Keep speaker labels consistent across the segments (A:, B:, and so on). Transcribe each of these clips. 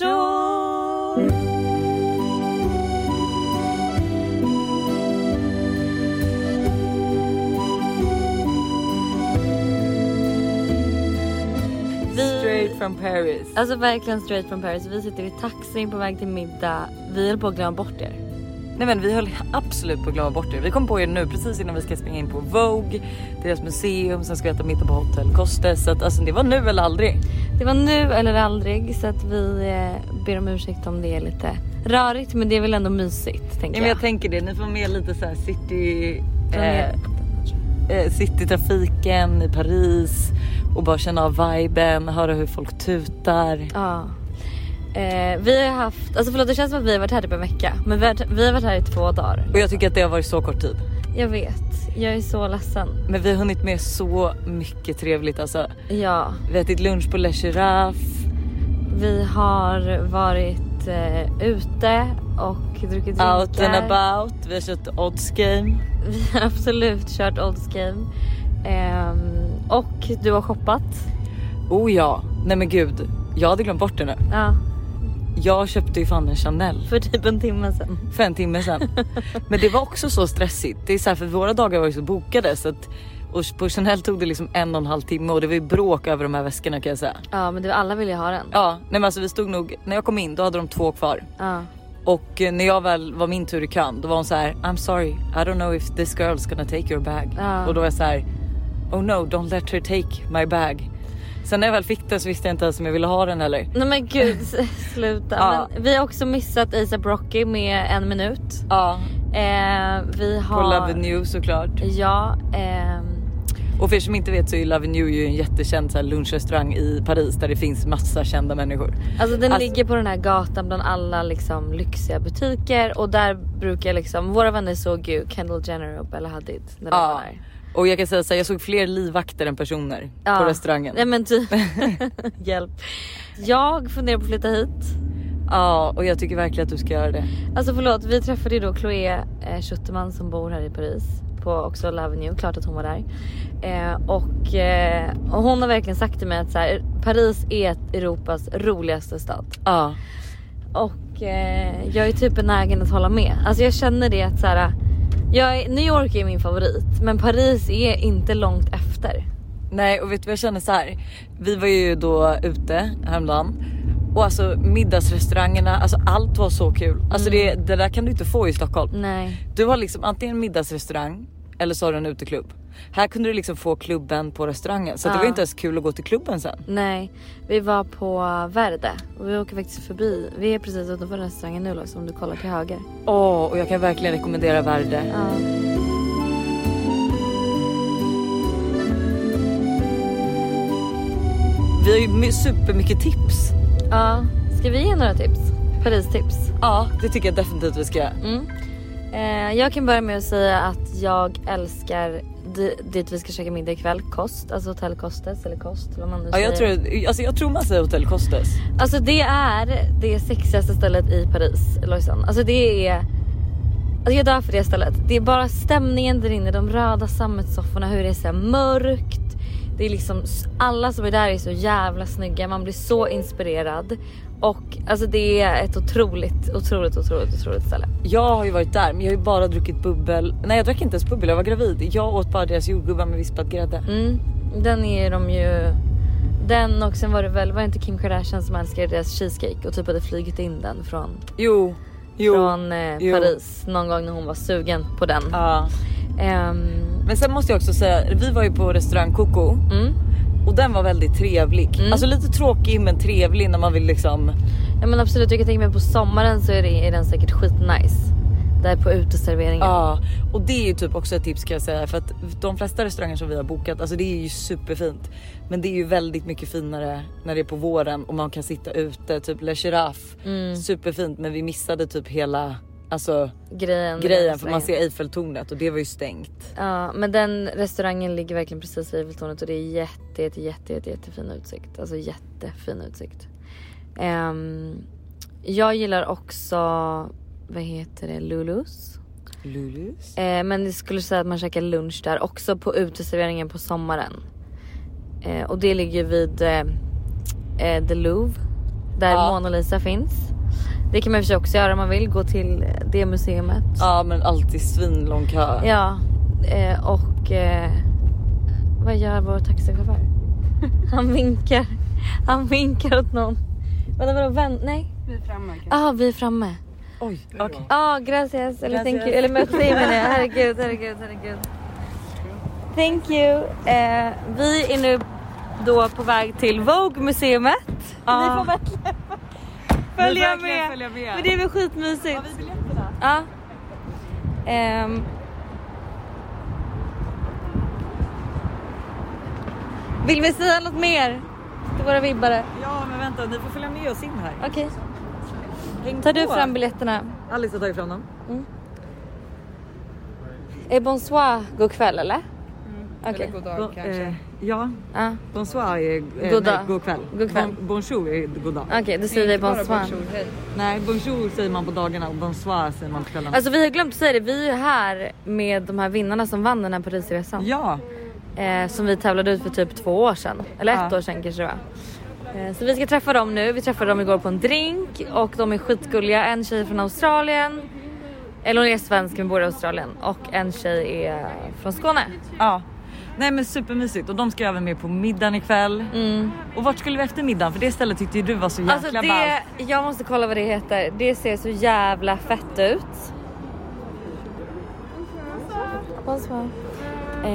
A: Bonjour!
B: Straight from Paris.
A: Alltså verkligen straight from Paris. Vi sitter i taxin på väg till middag. Vi höll på att glömma bort er.
B: Nej men vi höll absolut på att glömma bort er. Vi kom på er nu precis innan vi ska springa in på Vogue, deras museum, sen ska vi äta middag på Hotel Coste. Så att, alltså det var nu eller aldrig.
A: Det var nu eller aldrig så att vi eh, ber om ursäkt om det är lite rörigt men det är väl ändå mysigt tänker
B: Nej, men jag tänker det, ni får med lite så här city... Eh,
A: Planerat.
B: eh, citytrafiken i Paris och bara känna av viben, höra hur folk tutar.
A: Ja. Eh, vi har haft, alltså förlåt det känns som att vi har varit här typ en vecka men vi har, vi har varit här i två dagar.
B: Och jag tycker att det har varit så kort tid.
A: Jag vet, jag är så ledsen.
B: Men vi har hunnit med så mycket trevligt alltså.
A: Ja,
B: Vi har ätit lunch på Le Giraffe.
A: vi har varit eh, ute och druckit drinkar.
B: Out and about, vi har kört odds game.
A: Vi har absolut kört Odds Game. Ehm, och du har shoppat.
B: Oh ja, nej men gud. Jag hade glömt bort det nu.
A: Ja,
B: Jag köpte ju fan en Chanel
A: för typ en timme sedan.
B: för en timme sedan. men det var också så stressigt. Det är så här, för våra dagar var ju så bokade så att och på Chanel tog det liksom en och en halv timme och det var ju bråk över de här väskorna kan jag säga.
A: Ja men du alla ville ju ha den.
B: Ja, nej men alltså vi stod nog, när jag kom in då hade de två kvar.
A: Ja.
B: Och eh, när jag väl var min tur i kön då var hon så här I'm sorry, I don't know if this girl's gonna take your bag.
A: Ja.
B: Och då var jag så här Oh no, don't let her take my bag. Sen när jag väl fick den så visste jag inte ens om jag ville ha den heller.
A: Nej men gud s- sluta.
B: Ja.
A: Men vi har också missat ASAP Rocky med en minut.
B: Ja,
A: Ehm, vi
B: på
A: har...
B: Love New såklart.
A: Ja. ehm,
B: Och för er som inte vet så är Love New ju en jättekänd så här lunchrestaurang i Paris där det finns massa kända människor.
A: Alltså den
B: Alltså-
A: ligger på den här gatan bland alla liksom lyxiga butiker och där brukar liksom våra vänner såg ju Kendall Jenner och Bella Hadid när de var
B: Ja.
A: där.
B: Och jag kan säga så här, jag såg fler livvakter än personer
A: Ja.
B: på restaurangen.
A: Nej men typ. Hjälp. Jag funderar på att flytta hit.
B: Ja, och jag tycker verkligen att du ska göra det.
A: Alltså förlåt, vi träffade ju då Chloé eh, Schuterman som bor här i Paris på också Love New, klart att hon var där. Eh, och, eh, och hon har verkligen sagt till mig att så här, Paris är ett Europas roligaste stad.
B: Ja,
A: Och eh, jag är typ benägen att hålla med. Alltså jag känner det att så här, jag är, New York är min favorit men Paris är inte långt efter.
B: nej och vet du vad jag känner så här. Vi var ju då ute häromdagen och alltså middagsrestaurangerna, alltså allt var så kul. Alltså det, det där kan du inte få i Stockholm.
A: Nej.
B: Du har liksom antingen en middagsrestaurang eller så har du en uteklubb. Här kunde du liksom få klubben på restaurangen så att det
A: Ja.
B: var ju inte ens kul att gå till klubben sen.
A: Nej, vi var på Verde och vi åker faktiskt förbi. Vi är precis utanför restaurangen nu Lars om du kollar till höger.
B: Åh, och jag kan verkligen rekommendera Värde.
A: Ja.
B: Vi har ju my- supermycket tips.
A: ja. Ska vi ge några tips? Paris-tips.
B: Ja, det tycker jag definitivt vi ska.
A: Mm. Eh, jag kan börja med att säga att jag älskar di- dit vi ska käka middag ikväll, kost. Alltså hotell Kostes eller kost. Vad man nu
B: Ja, jag,
A: säger.
B: tror, alltså, jag tror man säger Hotell Costes.
A: Alltså det är det sexigaste stället i Paris, Lojsan. Alltså det är... Alltså jag dör för det stället. Det är bara stämningen där inne, de röda sammetssofforna, hur det är så här mörkt. Det är liksom, alla som är där är så jävla snygga, man blir så inspirerad. Och alltså det är ett otroligt, otroligt, otroligt, otroligt ställe.
B: Jag har ju varit där men jag har ju bara druckit bubbel. Nej jag drack inte ens bubbel, jag var gravid. Jag åt bara deras jordgubbar med vispad grädde.
A: Mm. Den är de ju... Den och sen var det väl, var det inte Kim Kardashian som älskade deras cheesecake och typ hade flugit in den från,
B: Jo, jo.
A: från eh,
B: jo.
A: Paris någon gång när hon var sugen på den.
B: Ja.
A: Ehm,
B: Men sen måste jag också säga, vi var ju på restaurang Coco
A: mm.
B: och den var väldigt trevlig.
A: Mm.
B: Alltså lite tråkig men trevlig när man vill liksom.
A: Ja men absolut, jag kan tänka mig på sommaren så är, det, är den säkert skitnice. Där på uteserveringen.
B: Ja. Och det är ju typ också ett tips kan jag säga för att de flesta restauranger som vi har bokat, alltså det är ju superfint. Men det är ju väldigt mycket finare när det är på våren och man kan sitta ute, typ Le Giraffe.
A: Mm.
B: Superfint men vi missade typ hela Alltså
A: Grejen.
B: grejen för man ser Eiffeltornet och det var ju stängt.
A: Ja men den restaurangen ligger verkligen precis vid Eiffeltornet och det är jätte, jätte, jätte, jätte, jättefin utsikt. Alltså jättefin utsikt. Ehm, jag gillar också, vad heter det, Lulus.
B: Lulus?
A: Eh, men jag skulle säga att man käkar lunch där också på uteserveringen på sommaren. Eh, och det ligger vid eh, eh, The Louvre. där
B: Ja.
A: Mona Lisa finns. Det kan man i och för sig också göra om man vill, gå till det museet.
B: Ja men alltid svinlång kö.
A: Ja, eh, och eh, vad gör vår taxichaufför? Han vinkar. Han vinkar åt någon. Vadå vadå vän? Nej.
C: Vi är framme kanske.
A: Ah, vi är framme.
B: Oj, okej.
A: Ja, ah, gracias. Eller thank you.
B: Gracias.
A: Eller merci menar jag. Herregud, herregud, herregud. Thank you. Eh, vi är nu då på väg till Vogue museumet. Ni får verkligen följa
C: verkligen
A: med.
C: följa med.
A: Men det är väl skitmysigt. Har vi biljetterna? Ja. Ehm. vill vi säga något mer till våra vibbare?
B: Ja men vänta ni får följa med oss in här.
A: Okej,
B: Häng
A: tar du
B: på.
A: fram biljetterna?
B: Alice har tagit fram dem.
A: Eh, bonsoir, god kväll eller? Okej.
C: Eller god dag kanske.
B: Eh, ja,
A: Ja.
B: bonsoir är eh,
A: God dag.
B: nej, god kväll. Ah.
A: God kväll.
B: Bon, bonjour är god dag.
A: Okej, då säger
C: Nej,
A: vi
C: inte bara
A: bonsoir.
C: hej.
B: Nej bonjour säger man på dagarna och bonsoir säger man på kvällarna.
A: Alltså vi har glömt att säga det, vi är ju här med de här vinnarna som vann den här Parisresan.
B: ja,
A: Eh, som vi tävlade ut för typ två år sedan. Eller ett
B: Ja.
A: år sedan kanske det var. Eh, så vi ska träffa dem nu. Vi träffade dem igår på en drink och de är skitgulliga. En tjej är från Australien. Eller hon är svensk men bor i Australien. Och en tjej är från Skåne.
B: ja. Nej men supermysigt och de ska även med på middagen ikväll. Och vart skulle vi efter middagen? För det stället tyckte ju du var så jäkla
A: Mm. Alltså det,
B: ballt.
A: jag måste kolla vad det heter. Det ser så jävla fett ut. Bonsoir. Eh,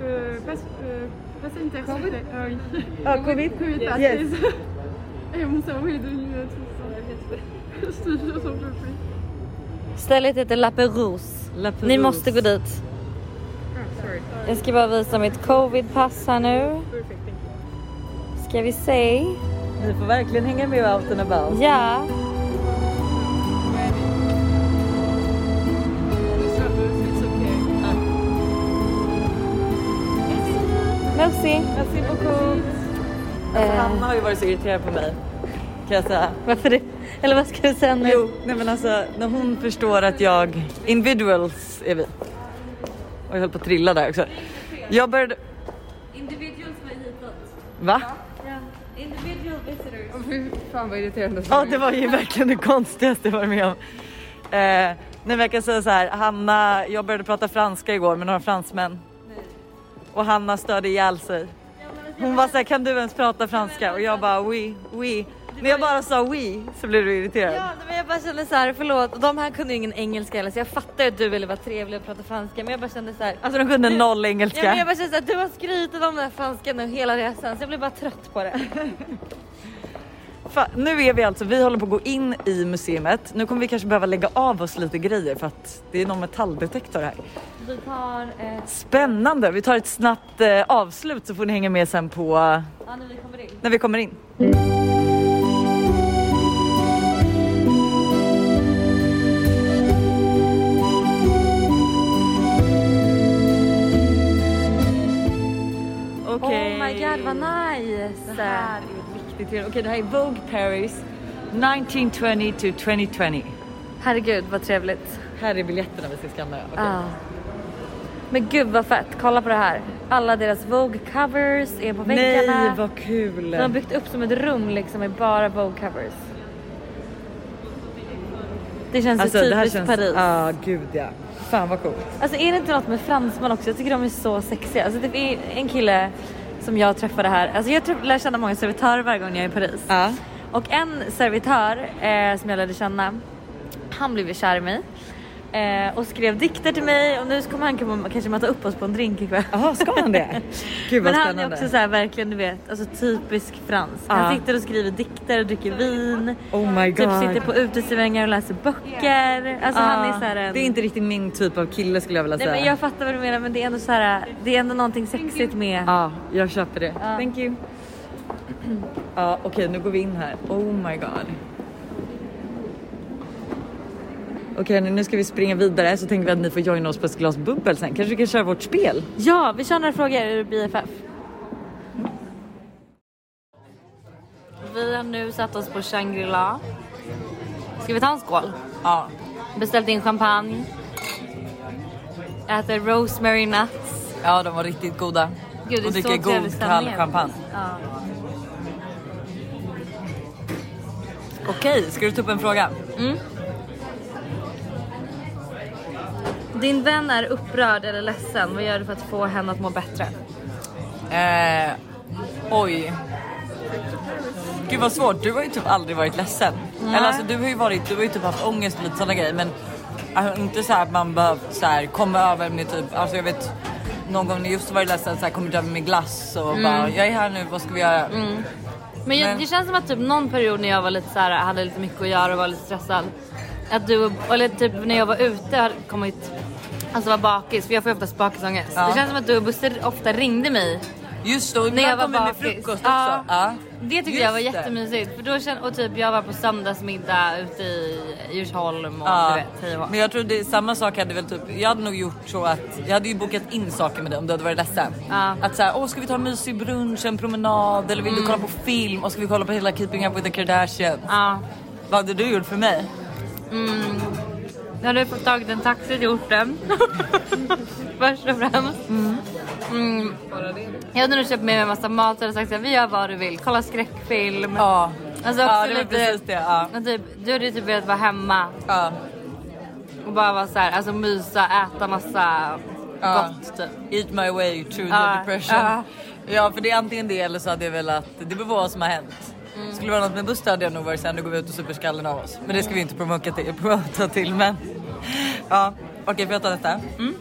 D: Euh, passe, euh, passez une personne. Ah oui.
B: Ah, Covid
D: Covid passe.
B: Yes.
D: Et mon cerveau est devenu euh, tout ça. Je te jure, j'en peux plus.
A: Stället heter La Perouse.
B: La Perouse.
A: Ni måste gå dit. Jag ska bara visa mitt covidpass här nu. Ska vi se.
B: Ni får verkligen hänga med out and about.
A: Ja. Merci.
B: Merci beaucoup. Alltså,
A: Eh.
B: Hanna har ju varit så irriterad på mig kan jag säga.
A: Varför det? Eller vad ska du säga nu?
B: Jo, nej men alltså när hon förstår att jag... Individuals är vi. Och jag höll på att trilla där också. Jag började...
A: Individuals var hitåt.
B: Va?
A: Individual visitors.
C: Fy fan vad irriterande.
B: Ja det var ju verkligen det konstigaste jag varit med om. Eh, nej men jag kan säga så här, Hanna, jag började prata franska igår med några fransmän. Och Hanna störde ihjäl sig. Hon var så här, kan du ens prata franska? Och jag bara oui, oui. När jag bara sa oui så blev du irriterad.
A: Ja, men jag bara kände så här, förlåt. Och de här kunde ju ingen engelska heller så jag fattar att du ville vara trevlig och prata franska men jag bara kände så här.
B: Alltså de kunde noll
A: Ja, men
B: engelska.
A: jag bara känner såhär, du har skrytit om den här franskan nu hela resan så jag blir bara trött på det.
B: Fa- nu är vi alltså, vi håller på att gå in i museet. Nu kommer vi kanske behöva lägga av oss lite grejer för att det är någon metalldetektor här.
A: Vi tar eh, ett...
B: Spännande! Vi tar ett snabbt eh, avslut så får ni hänga med sen på eh,
A: Ja, när vi kommer in.
B: när vi kommer in. Okej.
A: Oh my god vad nice!
B: Det här är riktigt trevligt. Okej, det här är Vogue Paris 1920 to 2020.
A: Herregud vad trevligt.
B: Här är biljetterna vi ska skanna. Okej.
A: Ja. Men gud vad fett, kolla på det här. Alla deras Vogue covers är på väggarna.
B: Nej, vad kul!
A: De har byggt upp som ett rum liksom med bara Vogue covers. Alltså, Det känns
B: Alltså,
A: ju typiskt Paris.
B: Ja, Ah, gud ja. Fan vad coolt.
A: Alltså är det inte något med fransmän också? Jag tycker de är så sexiga. Alltså det är en kille som jag träffade här. Alltså jag träff- lär känna många servitörer varje gång jag är i Paris.
B: Ja.
A: Och en servitör eh, som jag lärde känna, han blev ju kär i mig. Eh, och skrev dikter till mig och nu kommer han komma- kanske möta upp oss på en drink ikväll.
B: Jaha, ska han det? Gud vad
A: Men han är
B: spännande.
A: också så här verkligen du vet, alltså typisk fransk.
B: Ja.
A: Han sitter och skriver dikter och dricker vin.
B: Oh my
A: Typ
B: god.
A: sitter på uteserveringar och läser böcker. Alltså han är
B: Ja,
A: så här en...
B: Det är inte riktigt min typ av kille skulle jag vilja
A: Nej
B: säga.
A: men jag fattar vad du menar men det är ändå så här, det är ändå någonting sexigt med.
B: Ja, jag köper det.
A: Ah.
B: Thank you. Ja, okej nu går vi in här. Oh my god. Okej nu- nu ska vi springa vidare så tänker vi att ni får joina oss på ett glas bubbel sen. Kanske vi kan köra vårt spel?
A: Ja, vi kör några frågor ur BFF. Vi har nu satt oss på Shangri-La. Ska vi ta en skål?
B: Ja.
A: Beställt in champagne. Äter rosemary nuts.
B: Ja de var riktigt goda.
A: Gud, det
B: och
A: är så
B: dricker
A: trevlig
B: god kall
A: stämning.
B: champagne.
A: Ja.
B: Okej, ska du ta upp en fråga?
A: Din vän är upprörd eller ledsen. Vad gör du för att få henne att må bättre?
B: Eh, oj. Gud vad svårt, du har ju typ aldrig varit ledsen. Eller alltså du har ju varit, du har ju typ haft ångest och lite sådana grejer men alltså, inte så här att man behövt så här komma över med typ, alltså jag vet någon gång när just var ledsen så här kommit över med glass och
A: Mm.
B: bara jag är här nu, vad ska vi göra?
A: Men jag,
B: Men-
A: det känns som att typ någon period när jag var lite så här, hade lite mycket att göra och var lite stressad. Att du, och- eller typ när jag var ute hade kommit, alltså var bakis för jag får ju oftast bakisångest.
B: Ja.
A: Det känns som att du och Buster ofta ringde mig.
B: Just då,
A: När jag
B: ibland
A: var
B: kommer med
A: bakis.
B: frukost också.
A: Ja.
B: Ja.
A: Det tyckte
B: Just
A: jag var
B: det.
A: jättemysigt. För då kände, och typ jag var på söndagsmiddag ute i Djursholm och
B: Ja.
A: du vet, hej och hå.
B: Men jag tror det är samma sak hade väl typ, jag hade nog gjort så att jag hade ju bokat in saker med dig om du hade varit ledsen.
A: Ja. Mm.
B: Att såhär, åh ska vi ta en mysig brunch, en promenad eller vill du kolla på film och ska vi kolla på hela Keeping Up With The Kardashians.
A: Ja.
B: Vad hade du gjort för mig?
A: Mm. Nu har du fått tagit en taxi till orten. Först och främst. Mm. Jag hade nog köpt med mig en massa mat och sagt att vi gör vad du vill. Kolla skräckfilm.
B: Ja.
A: Alltså också
B: ja det var
A: lite-
B: precis det. Ja.
A: Men typ, du hade ju typ velat vara hemma
B: Ja.
A: och bara vara så här, alltså mysa, äta massa
B: Ja.
A: gott typ.
B: Eat my way through
A: Ja.
B: the depression.
A: Ja.
B: Ja för det är antingen det eller så hade jag velat, det beror på vad som har hänt. Skulle det vara något med Buster hade jag nog varit såhär, nu går vi ut och super skallen av oss. Men det ska vi inte promota till, promota till men. Ja, okej får jag ta detta? Mm.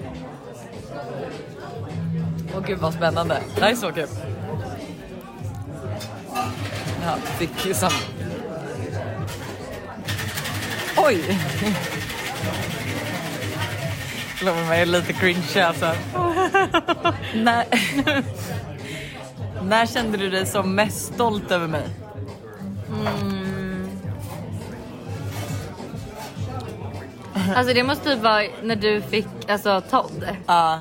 B: Åh gud vad spännande, det här är så kul. Ja, fick ju sam... Oj! Förlåt men jag är lite cringe alltså. När... När kände du dig som mest stolt över mig?
A: Alltså det måste typ vara när du fick alltså Todd.
B: Ja,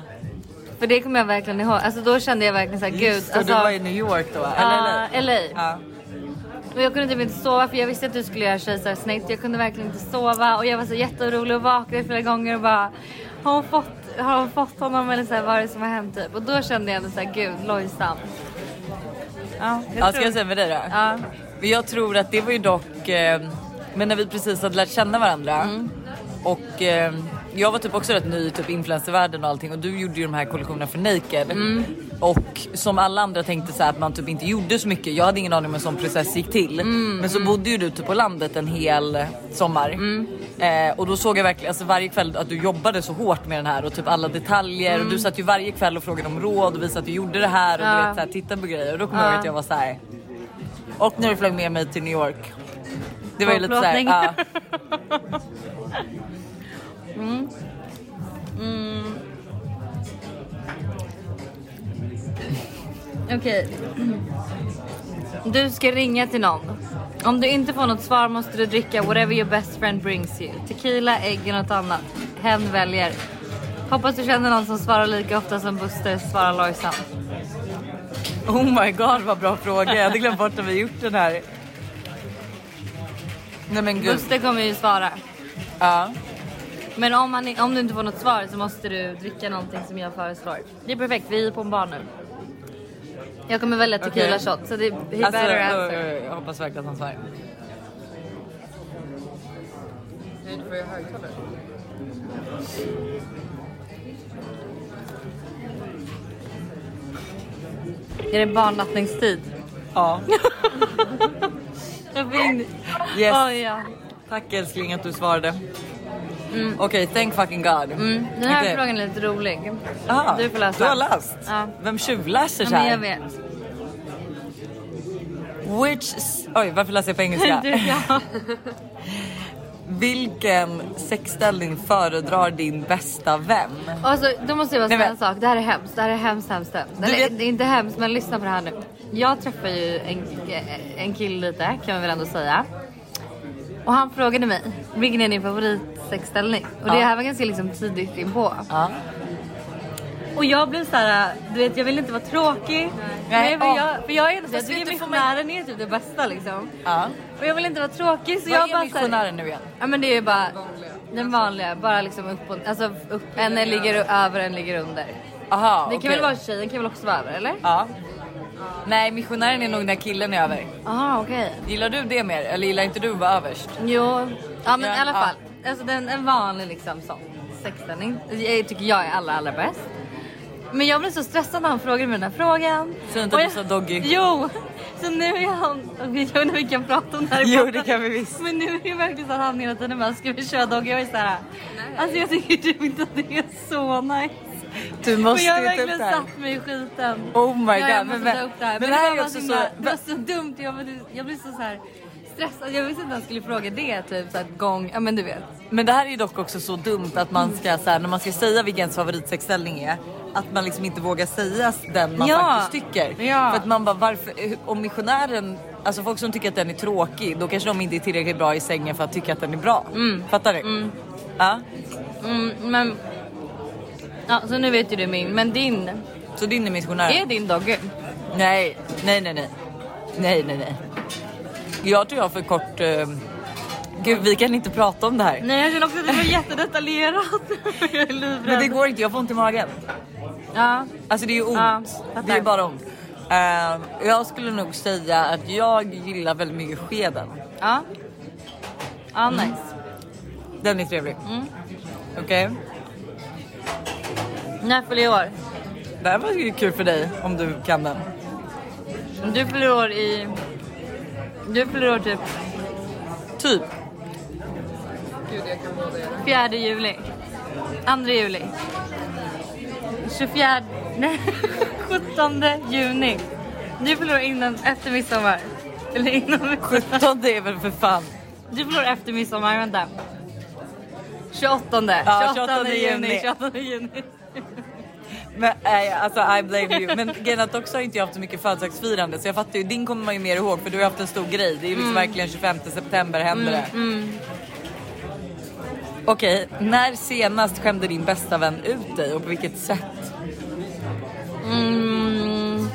A: För det kommer jag verkligen ihåg. Alltså då kände jag verkligen såhär gud.
B: just det,
A: Alltså, Ah.
B: du var i New York då?
A: Ja,
B: Eller? Ah. eller?
A: LA.
B: Ja.
A: Och jag kunde typ inte sova för jag visste att du skulle göra kejsarsnitt. Jag kunde verkligen inte sova och jag var så jätteorolig och vaknade flera gånger och bara har hon fått, har hon fått honom eller så här, vad är det som har hänt typ? Och då kände jag ändå såhär gud Lojsan. Ja, jag
B: ja,
A: tror-
B: ska jag säga med dig då?
A: Ja.
B: Men jag tror att det var ju dock, eh, men när vi precis hade lärt känna varandra och eh, jag var typ också rätt ny i typ influencervärlden och allting och du gjorde ju de här kollektionerna för Naked. Och som alla andra tänkte så här att man typ inte gjorde så mycket. Jag hade ingen aning om hur en sån process gick till. men så bodde ju du typ på landet en hel sommar. Eh, och då såg jag verkligen alltså varje kväll att du jobbade så hårt med den här och typ alla detaljer. Och du satt ju varje kväll och frågade om råd och visade att du gjorde det här och du
A: Ja.
B: vet, så här, titta på grejer. Och då kommer jag ihåg
A: Ja.
B: att jag var så här. Och när du flög med mig till New York. Det var ju lite såhär,
A: Tågplåtning.
B: ja.
A: Okej. Du ska ringa till någon. Om du inte får något svar måste du dricka whatever your best friend brings you. Tequila, ägg eller något annat. Hen väljer. Hoppas du känner någon som svarar lika ofta som Buster svarar Lojsan.
B: oh my god vad bra fråga. Jag hade glömt bort att vi gjort den här. Nej men gud.
A: Buster kommer ju svara.
B: Ja.
A: Men om, han, om du inte får något svar så måste du dricka någonting som jag föreslår. Det är perfekt, vi är på en bar nu. Jag kommer välja tequila
B: Okej.
A: shot så det he
B: Alltså,
A: better
B: ö,
A: answer.
B: ö, jag hoppas verkligen att han svarar.
C: Nej, du får ju högtalare.
A: Är det barnattningstid?
B: Ja.
A: Jag får in...
B: Yes.
A: Oj, ja.
B: Tack älskling att du svarade. Okej, thank fucking god.
A: Mm, den här
B: Okej.
A: frågan är lite rolig.
B: Aha,
A: du får läsa.
B: Du har läst?
A: Ja.
B: Vem tjuvläser
A: Ja,
B: så
A: men
B: här?
A: jag vet.
B: Which... s- Oj, varför läser jag på engelska?
A: Du, ja.
B: Vilken sexställning föredrar din bästa vän?
A: Alltså, då måste jag bara
B: Nej,
A: säga
B: men-
A: en sak. Det här är hemskt. Det här är hemskt, hemskt, hemskt. Eller,
B: vet-
A: Det är inte hemskt, men lyssna på det här nu. Jag träffade ju en, en kille lite, kan man väl ändå säga. Och han frågade mig, vilken är din favoritsexställning? Och det
B: Ja.
A: här var ganska liksom tidigt inpå.
B: Ja.
A: Och jag blev såhär, du vet jag vill inte vara tråkig. Nej,
B: Nej,
A: för,
B: ja.
A: jag, för jag är ändå
B: Jag
A: såhär,
B: tror inte får man-
A: missionären är typ det bästa liksom.
B: Ja.
A: Och jag vill inte vara tråkig så jag
B: Vad är
A: bara såhär,
B: missionären nu igen?
A: Ja men det är ju bara den vanliga, bara liksom upp och alltså upp, en ligger över en ligger under.
B: Aha,
A: Det kan
B: okej.
A: väl vara tjejen kan väl också vara över eller?
B: Ja. Nej, missionären är nog när killen är över.
A: Jaha okej.
B: Gillar du det mer? Eller gillar inte du att vara överst?
A: Jo, ja men
B: Ja,
A: i alla
B: ja.
A: fall. Alltså den, en vanlig liksom sån sexställning. Jag tycker jag är allra allra bäst. Men jag blev så stressad när han frågade mig den här frågan.
B: Säg inte
A: Och
B: att du
A: jag-
B: sa doggy.
A: Jo! Så nu är han... Okej, Jag undrar vi kan prata om det här i
B: Jo,
A: podden.
B: det kan vi visst.
A: Men nu är det verkligen så att han hela tiden bara ska vi köra doggy? Jag är såhär... Alltså jag tycker typ inte att det är så nice.
B: Du
A: Och
B: måste
A: jag har
B: ju ta upp
A: verkligen
B: det här.
A: satt mig i skiten.
B: Oh my
A: Ja, jag
B: god.
A: måste
B: men-
A: ta upp det här.
B: Men det här
A: var
B: är också
A: så
B: så...
A: himla, Det var så dumt. Jag, blev- jag blev så, så här stressad. Jag visste inte att jag skulle fråga det. Typ så här gång. Ja men du vet.
B: Men det här är ju dock också så dumt att man ska så här, när man ska säga vilken ens favoritsexställning är att man liksom inte vågar säga den man
A: Ja.
B: faktiskt tycker.
A: Ja.
B: För att man bara varför, om missionären, alltså folk som tycker att den är tråkig då kanske de inte är tillräckligt bra i sängen för att tycka att den är bra. Fattar du? Ja.
A: Mm, men. Ja så nu vet ju du min. Men din.
B: Så din är missionären?
A: Är din doggy?
B: Nej, nej, nej, nej. Nej, nej, nej. Jag tror jag har för kort... eh, Gud, vi kan inte prata om det här.
A: Nej jag känner också att det var jättedetaljerat. jag är
B: Men det
A: livrädd.
B: går inte, jag får ont i magen.
A: Ja.
B: Alltså det är ju ont.
A: Ja,
B: det
A: fattar.
B: är ju bara ont. Eh, jag skulle nog säga att jag gillar väldigt mycket skeden.
A: Ja. Ja nice. Mm.
B: Den är trevlig. Okej.
A: När fyller jag år?
B: Det här var ju kul för dig om du kan den.
A: Du fyller år i... Du fyller år typ
B: Typ.
C: Gud, jag kan vara
A: 4
C: det.
A: juli. 2 juli. 24... Nej, 17 juni. Du förlorar innan, efter midsommar. Eller innan midsommar.
B: 17 det är väl för fan.
A: Du förlorar efter midsommar, vänta. 28. 28,
B: Ja, 28
A: juni.
B: juni.
A: 28 juni.
B: Men nej, alltså I blame you. Men grejen är att också har inte jag haft så mycket födelsedagsfirande så jag fattar ju. Din kommer man ju mer ihåg för du har haft en stor grej. Det är ju liksom
A: Mm.
B: verkligen 25 september händer det. Okej, när senast skämde din bästa vän ut dig och på vilket sätt?
A: Mm.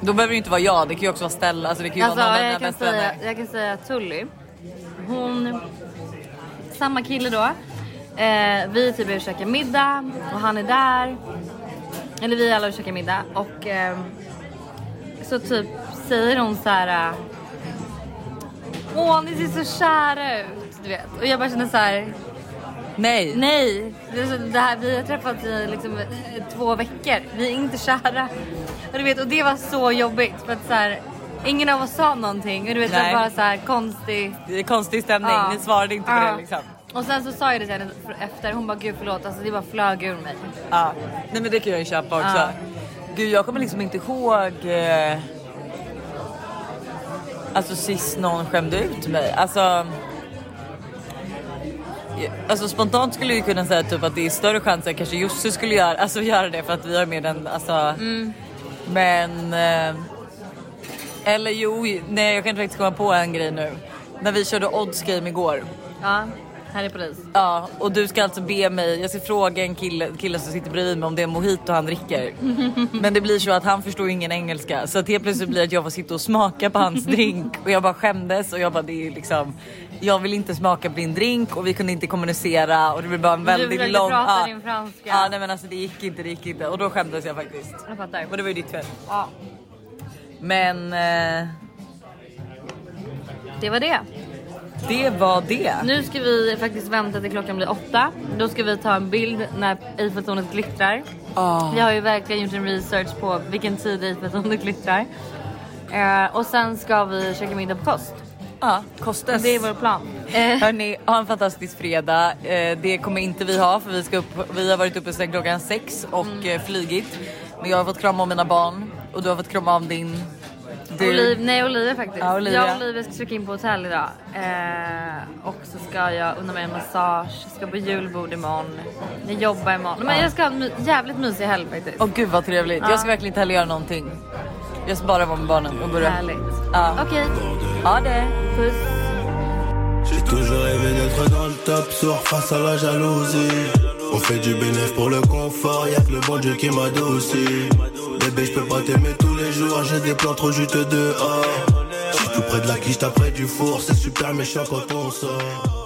B: Då behöver det ju inte vara jag, det kan ju också vara Stella. Alltså det kan ju
A: Alltså,
B: vara någon av
A: jag,
B: dina
A: kan
B: bästa
A: säga,
B: vänner.
A: jag kan säga att Tully, hon... Samma kille då. Eh, vi är typ är och käkar middag och han är där. Eller vi är alla och käkar middag och ehm, så typ säger hon så här. eh, Åh ni ser så kära ut, du vet. Och jag bara känner så här.
B: Nej.
A: Nej, det, är så- det här, vi har träffats i liksom, eh, två veckor. Vi är inte kära. Och, du vet, och det var så jobbigt för att så här, ingen av oss sa någonting. Och du vet, så här,
B: Nej.
A: bara så här konstig.
B: Det är konstig stämning,
A: Ja.
B: ni svarade inte på
A: Ja.
B: det liksom.
A: Och sen så sa jag det till henne för- efter. Hon bara gud förlåt, alltså, det bara flög ur mig.
B: Ja. Nej men det kan jag ju köpa också.
A: Ja.
B: Gud jag kommer liksom inte ihåg eh... Alltså sist någon skämde ut mig. Alltså Alltså spontant skulle jag ju kunna säga typ att det är större chans att kanske Josse skulle göra, alltså, göra det för att vi har med den alltså. Men eh... Eller jo, nej jag kan inte riktigt komma på en grej nu. När vi körde odds game igår.
A: Ja, här är polis.
B: Ja, och du ska alltså be mig, jag ska fråga en kille, kille som sitter bredvid mig om det är en mojito han dricker. Men det blir så att han förstår ju ingen engelska så att helt plötsligt blir det att jag får sitta och smaka på hans drink och jag bara skämdes och jag bara det är liksom jag vill inte smaka på din drink och vi kunde inte kommunicera och det blev bara en väldigt
A: försökte
B: lång...
A: prata
B: ja.
A: din franska.
B: Ja, nej men alltså det gick inte, det gick inte och då skämdes jag faktiskt.
A: Jag fattar.
B: Och det var ju ditt fel.
A: Ja,
B: Men eh,
A: det var det.
B: det var det.
A: Nu ska vi faktiskt vänta till klockan blir åtta. Då ska vi ta en bild när Eiffeltornet glittrar.
B: Ah.
A: Vi har ju verkligen gjort en research på vilken tid Eiffeltornet glittrar. Eh, och sen ska vi käka middag på kost.
B: Ja, kostas.
A: Det är vår plan. Eh,
B: Hörni, ha en fantastisk fredag. Eh, det kommer inte vi ha för vi, ska upp, vi har varit uppe sedan klockan sex och
A: Mm.
B: eh, flygit. Men jag har fått krama om mina barn och du har fått krama om din. Du.
A: Oliv, nej Olivia faktiskt.
B: Ja, Olivia.
A: Jag och Olivia ska checka in på hotell idag. Eh, och så ska jag unna mig en massage, jag ska på julbord imorgon. Jag jobbar imorgon. Men jag ska ha en my- jävligt mysig helg faktiskt.
B: Åh gud vad trevligt. Jag ska verkligen inte heller göra någonting. Jag ska bara vara med barnen och börja.
A: Härligt.
B: Ja.
A: Okej,
B: Ha det.
A: puss.
E: J'ai toujours rêvé d'être dans le top sur face à la jalousie. On fait du bénéf pour le confort, y'a que le bon Dieu qui m'adoucit. Bébé, je peux pas t'aimer tous les jours, j'ai des plans trop juteux dehors. J'suis tout près de la quiche, t'as près du four, c'est super méchant quand on sort.